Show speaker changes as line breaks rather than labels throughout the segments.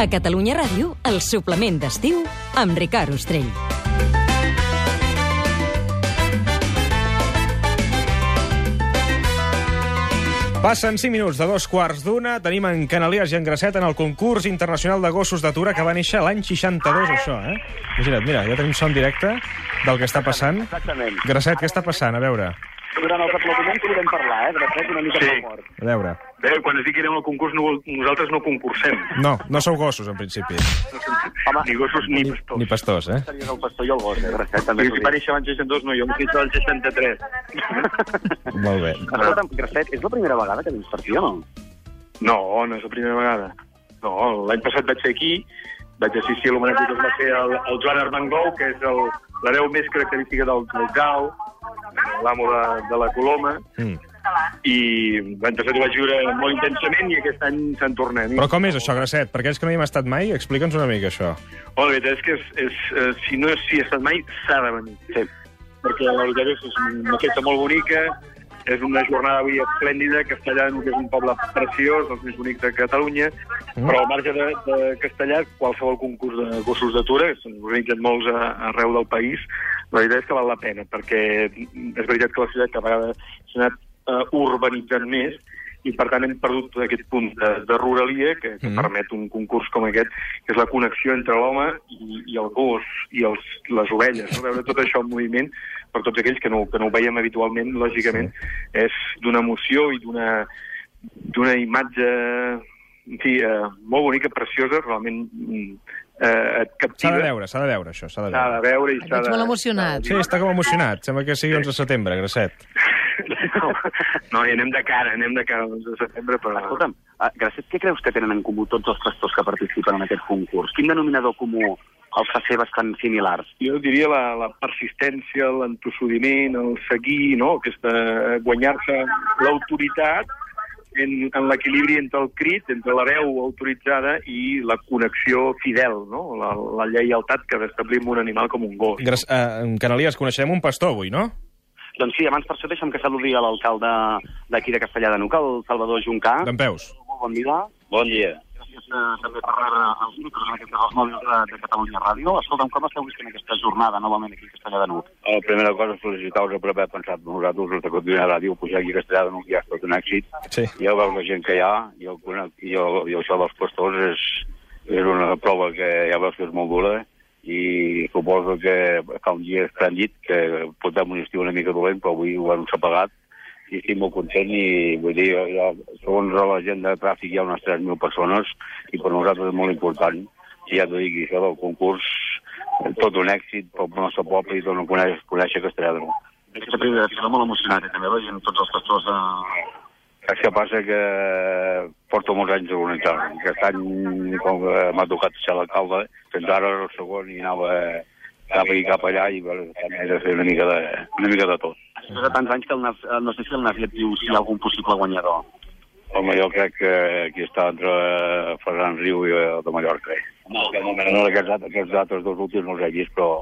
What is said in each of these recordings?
A Catalunya Ràdio, el suplement d'estiu amb Ricard Ostrell.
Passen 5 minuts de dos quarts d'una. Tenim en Canalies i en Gracet en el concurs internacional de gossos d'atura que va néixer l'any 62, això, eh? Imagina't, mira, ja tenim son directe del que està passant.
Exactament.
Gracet, què està passant? A veure,
Durant els aplaudiments podem parlar, eh? Gracet, una mica
Sí.
sí. fort.
a veure.
Bé, quan es diu que anem al concurs, no, vol- nosaltres no concursem.
No, no sou gossos, en principi.
Home.
Ni gossos ni
Ni,
pastors.
ni pastors, eh?
Series el pastor i el gos, eh, Gracet? També
Perquè
t'ho
si
dic.
va néixer abans 62, no, jo em quito el 63.
Molt bé.
Escolta'm, Gracet, és la primera vegada que vens per aquí o no?
No, no és la primera vegada. No, l'any passat vaig ser aquí, vaig assistir a l'homenatge que es va fer el, el Joan Armengou, que és el- l'hereu més característica del, del Gau, l'amo de, de la Coloma,
Mm.
i l'any passat ho vaig viure molt intensament i aquest any se'n tornem.
Però com és això, Gracet? Per aquells que no hi hem estat mai, explica'ns una mica això.
Oh, la veritat és que és, és, eh, si no s'hi ha estat mai, s'ha de venir.
Sí.
Perquè la veritat és que és una festa molt bonica, és una jornada avui esplèndida, Castellano, que és un poble preciós, dels més bonics de Catalunya,
Mm.
però al marge de, de Castellà, qualsevol concurs de gossos d'atura, que se'n organitzen molts a, arreu del país, la veritat és que val la pena, perquè és veritat que la ciutat cada vegada s'ha anat eh, urbanitzant més, i per tant hem perdut aquest punt de, de ruralia que, que
Mm.
mm. permet un concurs com aquest, que és la connexió entre l'home i, i el gos i els, les ovelles. No? Veure tot això en moviment, per tots aquells que no, que no ho veiem habitualment, lògicament, és d'una emoció i d'una d'una imatge en fi, eh, molt bonica, preciosa, realment mm, eh, et
S'ha
captiva.
de veure, s'ha de veure, això, s'ha de
S'ha de
veure.
veure i
Et
s'ha
veig
de...
molt emocionat.
Sí, està com emocionat. Sembla que sigui 11 de setembre, Gracet.
No, no, i anem de cara, anem de cara l'11 de setembre, però...
Escolta'm, eh, Gracet, què creus que tenen en comú tots els pastors que participen en aquest concurs? Quin denominador comú els fa ser bastant similars?
jo diria la, la persistència, l'entossudiment, el seguir, no? aquesta eh, guanyar-se l'autoritat en, en l'equilibri entre el crit, entre la veu autoritzada i la connexió fidel, no? la, la lleialtat que ha d'establir amb un animal com un gos.
Grac... Eh, en Canalies, coneixerem un pastor avui, no?
Doncs sí, abans per això deixa'm que saludi a l'alcalde d'aquí de Castellà de Nuca, el Salvador Juncà.
D'en Peus.
Molt bon dia.
Bon dia.
Gràcies eh, també per rebre els micros en aquest cas, els mòbils de, de Catalunya Ràdio. Escolta'm, com esteu visquent aquesta jornada novament aquí a Castellà de Nuc?
La Oh, primera cosa és felicitar-vos per haver pensat en nosaltres, els de Catalunya Ràdio, pujar aquí a Castellà d'un viatge per un èxit.
Sí.
Ja veu la gent que hi ha, i, el, conec, i, el, i això dels pastors és, és una prova que ja veus que és molt dura, i suposo que fa un dia estranyit, que portem un estiu una mica dolent, però avui ho hem apagat, i estic molt content i vull dir, jo, segons la gent de tràfic hi ha unes 3.000 persones i per nosaltres és molt important i ja t'ho dic, això del concurs eh, tot un èxit pel nostre poble i tot no coneix, conèixer Castellà de N'Hug.
Aquesta primera fila molt emocionat, eh, també veient tots els pastors de...
El que passa que porto molts anys organitzant. Aquest any, com que m'ha tocat ser l'alcalde, fins ara era el segon i anava cap aquí, cap allà, i bueno, he de fer una mica de, una mica de tot.
Després de tants anys que el Nas, eh, no sé si el Naslet diu si hi ha algun possible guanyador.
Home, jo crec que aquí està entre eh, Ferran Riu i el de Mallorca. No, no, aquests, altres, aquests altres dos últims no els he vist, però...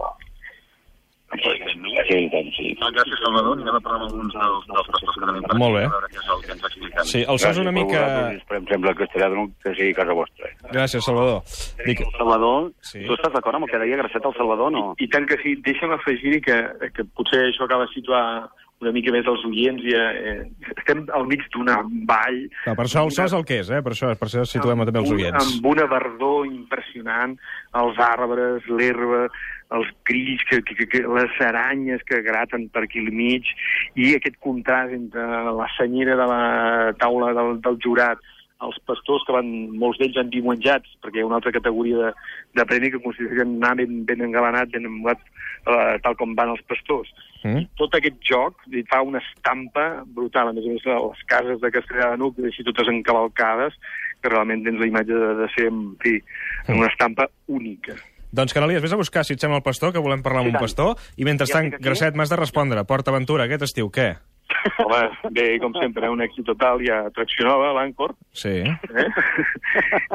Sí, tant, sí.
Gràcies, Salvador. Anirem a parlar amb alguns dels, dels pastors que tenim
per aquí, Molt bé. a
veure què és el que ens expliquen.
Sí, el so és una mica...
doncs, Esperem sempre que estarà d'un que sigui casa vostra. eh.
Gràcies, Salvador. Dic...
Salvador,
Sí.
tu estàs d'acord amb el que deia Gracet al Salvador, no?
I tant que sí, deixa'm afegir que, que potser això acaba de situar una mica més els oients i eh, estem al mig d'una vall
No, per això el so és el que és, eh? Per això, per això situem també els
amb un-
oients.
Amb una verdor impressionant, els arbres, l'herba, els grills, que, que, que, les aranyes que graten per aquí al mig, i aquest contrast entre la senyera de la taula del, del jurat, els pastors que van, molts d'ells han dimenjats, perquè hi ha una altra categoria de, de premi que consideren anar ben, ben engalanat, ben emulat, eh, tal com van els pastors
Mm?
tot aquest joc li fa una estampa brutal. A més a més, les cases de Castellà de Nuc, així totes encavalcades, que realment tens la imatge de, de ser, en fi, una estampa única.
Doncs, Canalies, vés a buscar, si et sembla, el pastor, que volem parlar amb
Sí,
un
tant.
pastor. I mentrestant,
Ja estic aquí.
Gracet, m'has de respondre. Porta Aventura, aquest estiu, què?
Home, bé, com sempre, eh, un èxit total, hi ha Tracció Nova, l'Àncor,
Sí.
eh?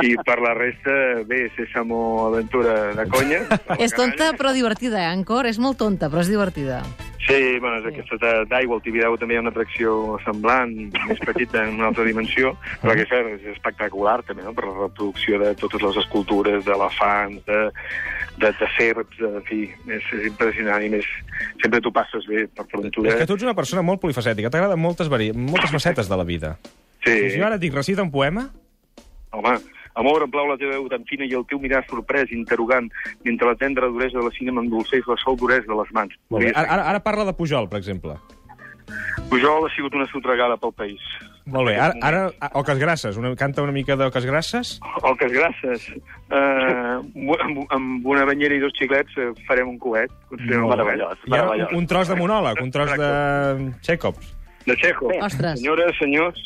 i per la resta, bé, Sésamo Aventura de Conya.
És tonta però divertida, eh, Ancor. És molt tonta però és divertida.
Sí, bueno, és sí. aquesta de- d'aigua. Al Tibidabo també hi ha una atracció semblant, més petita, en una altra dimensió, però aquesta és espectacular també, no?, per la reproducció de totes les escultures, d'elefants, de, de, de serps, de, en fi, és, és impressionant i més... Sempre t'ho passes bé per frontura.
És que tu ets una persona molt polifacètica, t'agraden moltes, vari... moltes facetes de la vida. Sí. Si jo ara et dic, recita un poema,
Home, amor, em plau la teva veu tan fina i el teu mirar sorprès, interrogant, mentre la tendra duresa de la cine m'endolceix la sol duresa de les mans.
Molt bé. Ara, ara- ara parla de Pujol, per exemple.
Pujol ha sigut una sotregada pel país.
Molt bé, ara, ara a- Oques Grasses, una, canta una mica d'Oques Grasses.
Oques grasses. Uh, amb, amb una banyera i dos xiclets eh, farem un coet. Construirem un coet.
Meravellós,
Hi ha
meravellós.
un, un tros de monòleg, un tros de Chekhov.
De Checo.
Ostres.
Senyores, senyors,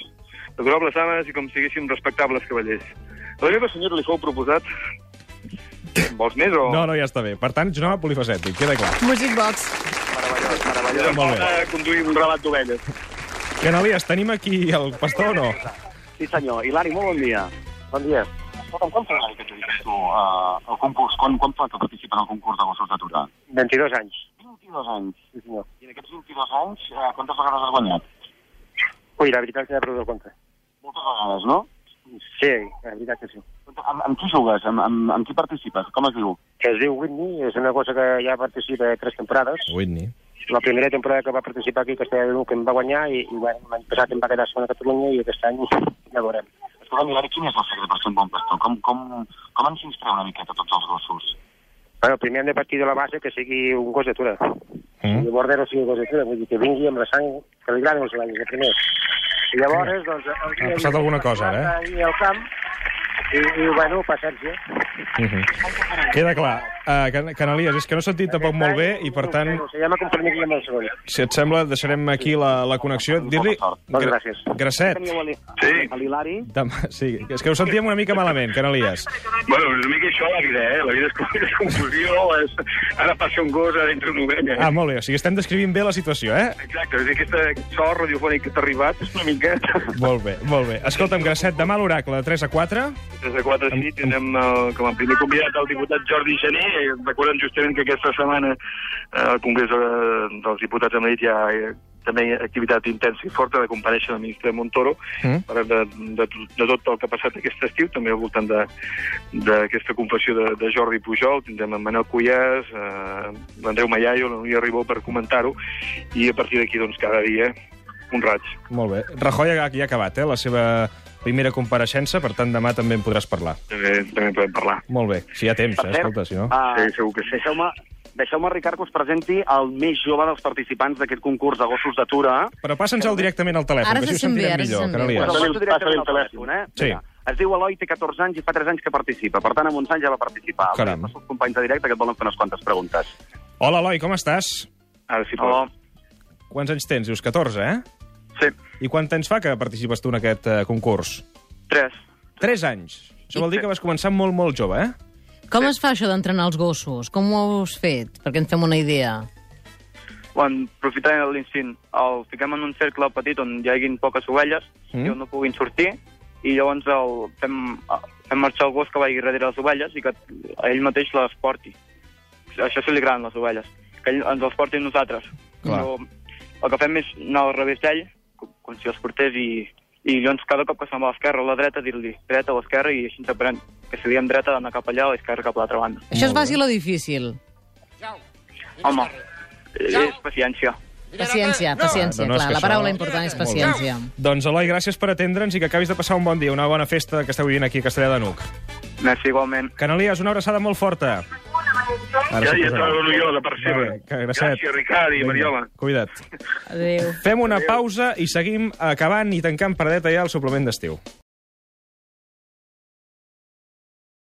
adorables dames i com siguéssim respectables cavallers. A la meva senyora li fou proposat... Vols més o...?
No, no, ja està bé. Per tant, ets un home polifacètic, queda clar.
Music Box.
Meravellós, meravellós.
Molt bé.
Em pot, eh, Conduir un relat d'ovelles.
Canalies, tenim aquí el pastor o no?
Sí, senyor. Hilari, molt bon dia. Bon dia. Escolta'm, quan fa que et dediques tu eh, al concurs? Quan, quan fa que participa en el concurs de gossos d'aturar?
22 anys.
22 anys. Sí, senyor. I en aquests 22 anys, eh, quantes vegades has guanyat?
Ui, la veritat que he perdut el compte.
Moltes vegades, no?
Sí, la veritat que sí.
Amb, amb qui jugues? Amb, amb, amb qui participes? Com es diu?
Es diu Whitney, és una cosa que ja participa tres temporades.
Whitney.
La primera temporada que va participar aquí, que estava l'un que em va guanyar, i, i bueno, l'any passat em va quedar segona a Catalunya i aquest any ja veurem.
Escolta'm, Hilari, quin és el secret per ser un bon pastor? Com, com, com ens instreu una miqueta tots els gossos?
Bueno, primer hem de partir de la base que sigui un gos d'atura. Mm.
Mm?
I bordero sigui un gos d'atura, vull dir que vingui amb la sang, que li agradin els l'any, de primer. I llavors, doncs... el dia-
passat alguna cosa, eh? ara,
I al camp, i, i bueno, paciència.
Mm -hmm. Queda clar. Uh, can Canalies, és que no s'ha sentit tampoc molt bé i, per tant,
Se llama compromís amb el segon.
si et sembla, deixarem aquí la, la connexió. Dir-li...
Moltes gràcies.
Gracet.
Sí. A l'Hilari?
Demà, sí, és que ho sentíem una mica malament, Canalies.
Bueno, és una mica això la vida, eh? La vida és, com- és confusió, és... ara passa un gos a dintre una ovella.
Ah, molt bé, o sigui, estem descrivint bé la situació, eh?
Exacte, és a dir, aquesta so radiofònic que t'ha arribat és una miqueta...
Molt bé, molt bé. Escolta'm, Gracet, demà a l'oracle de 3 a 4.
Des de 4 a 6 tindrem el, com a primer convidat el diputat Jordi Gené. Eh, Recorden justament que aquesta setmana eh, al Congrés eh, dels Diputats a Madrid hi ha eh, també activitat intensa i forta de compareixer la ministra Montoro
Mm.
mm. per de, de, de tot el que ha passat aquest estiu, també al voltant de- d'aquesta confessió de, de Jordi Pujol. Tindrem en Manel Cuyàs, eh, l'Andreu Mallaio, la Núria Ribó per comentar-ho i a partir d'aquí doncs, cada dia un raig.
Molt bé. Rajoy ja, ja ha acabat, eh, la seva primera compareixença, per tant, demà també en podràs parlar.
També, també podem parlar.
Molt bé, si hi ha temps, eh,
Per cert,
escolta, si no...
ah,
Sí, segur que sí.
Deixeu-me, deixeu Ricard, que us presenti el més jove dels participants d'aquest concurs de gossos d'atura.
Però passa'ns-el directament al telèfon,
Ara
que
se
així ho
sent bé,
sentirem
ara se
millor,
sent bé.
Canalies.
Però
Passa-li el-
el directament
passa-li el
al telèfon, eh?
Sí.
Vinga. Es diu Eloi, té 14 anys i fa 3 anys que participa. Per tant, amb uns anys ja va participar.
Caram.
Passa els companys de directe que et volen fer unes quantes preguntes.
Hola, Eloi, com estàs?
Ara sí,
Hola.
Quants anys tens? Dius 14, eh?
Sí,
I quant temps fa que participes tu en aquest eh, concurs?
3.
3 anys. Això vol dir que vas començar molt, molt jove, eh?
Com es fa això d'entrenar els gossos? Com ho heu fet? Perquè ens fem una idea.
quan aprofitem l'instint, el fiquem en un cercle petit on hi haguin poques ovelles
Mm.
mm. i on no puguin sortir, i llavors el fem, fem marxar el gos que vagi darrere les ovelles i que ell mateix les porti. Això sí li agraden les ovelles, que ell ens els porti a nosaltres.
Clar.
Però el que fem és anar al revés d'ell, com, com si els portés, i, i llavors cada cop que se'n va a l'esquerra o a la dreta, dir-li dreta o esquerra, i així ens aprenem que si diem dreta d'anar cap allà o esquerra cap a l'altra banda.
Això és fàcil o difícil?
Home, és paciència.
Paciència, paciència,
Ah, doncs No, no, és
clar.
que
La paraula
això-
important és
Molt bé.
paciència.
Doncs, Eloi, gràcies per atendre'ns i que acabis de passar un bon dia, una bona festa que esteu vivint aquí a Castellà de Nuc.
Merci igualment.
Canalies, una abraçada molt forta. Ara
Ja,
sí que
ja
us agrada.
t'adono jo, de per sempre.
Molt bé, que gracet.
Gràcies, Ricard i
Vinga,
Mariola.
Cuida't.
Adéu.
Fem una pausa i seguim acabant i tancant paradeta ja el suplement d'estiu.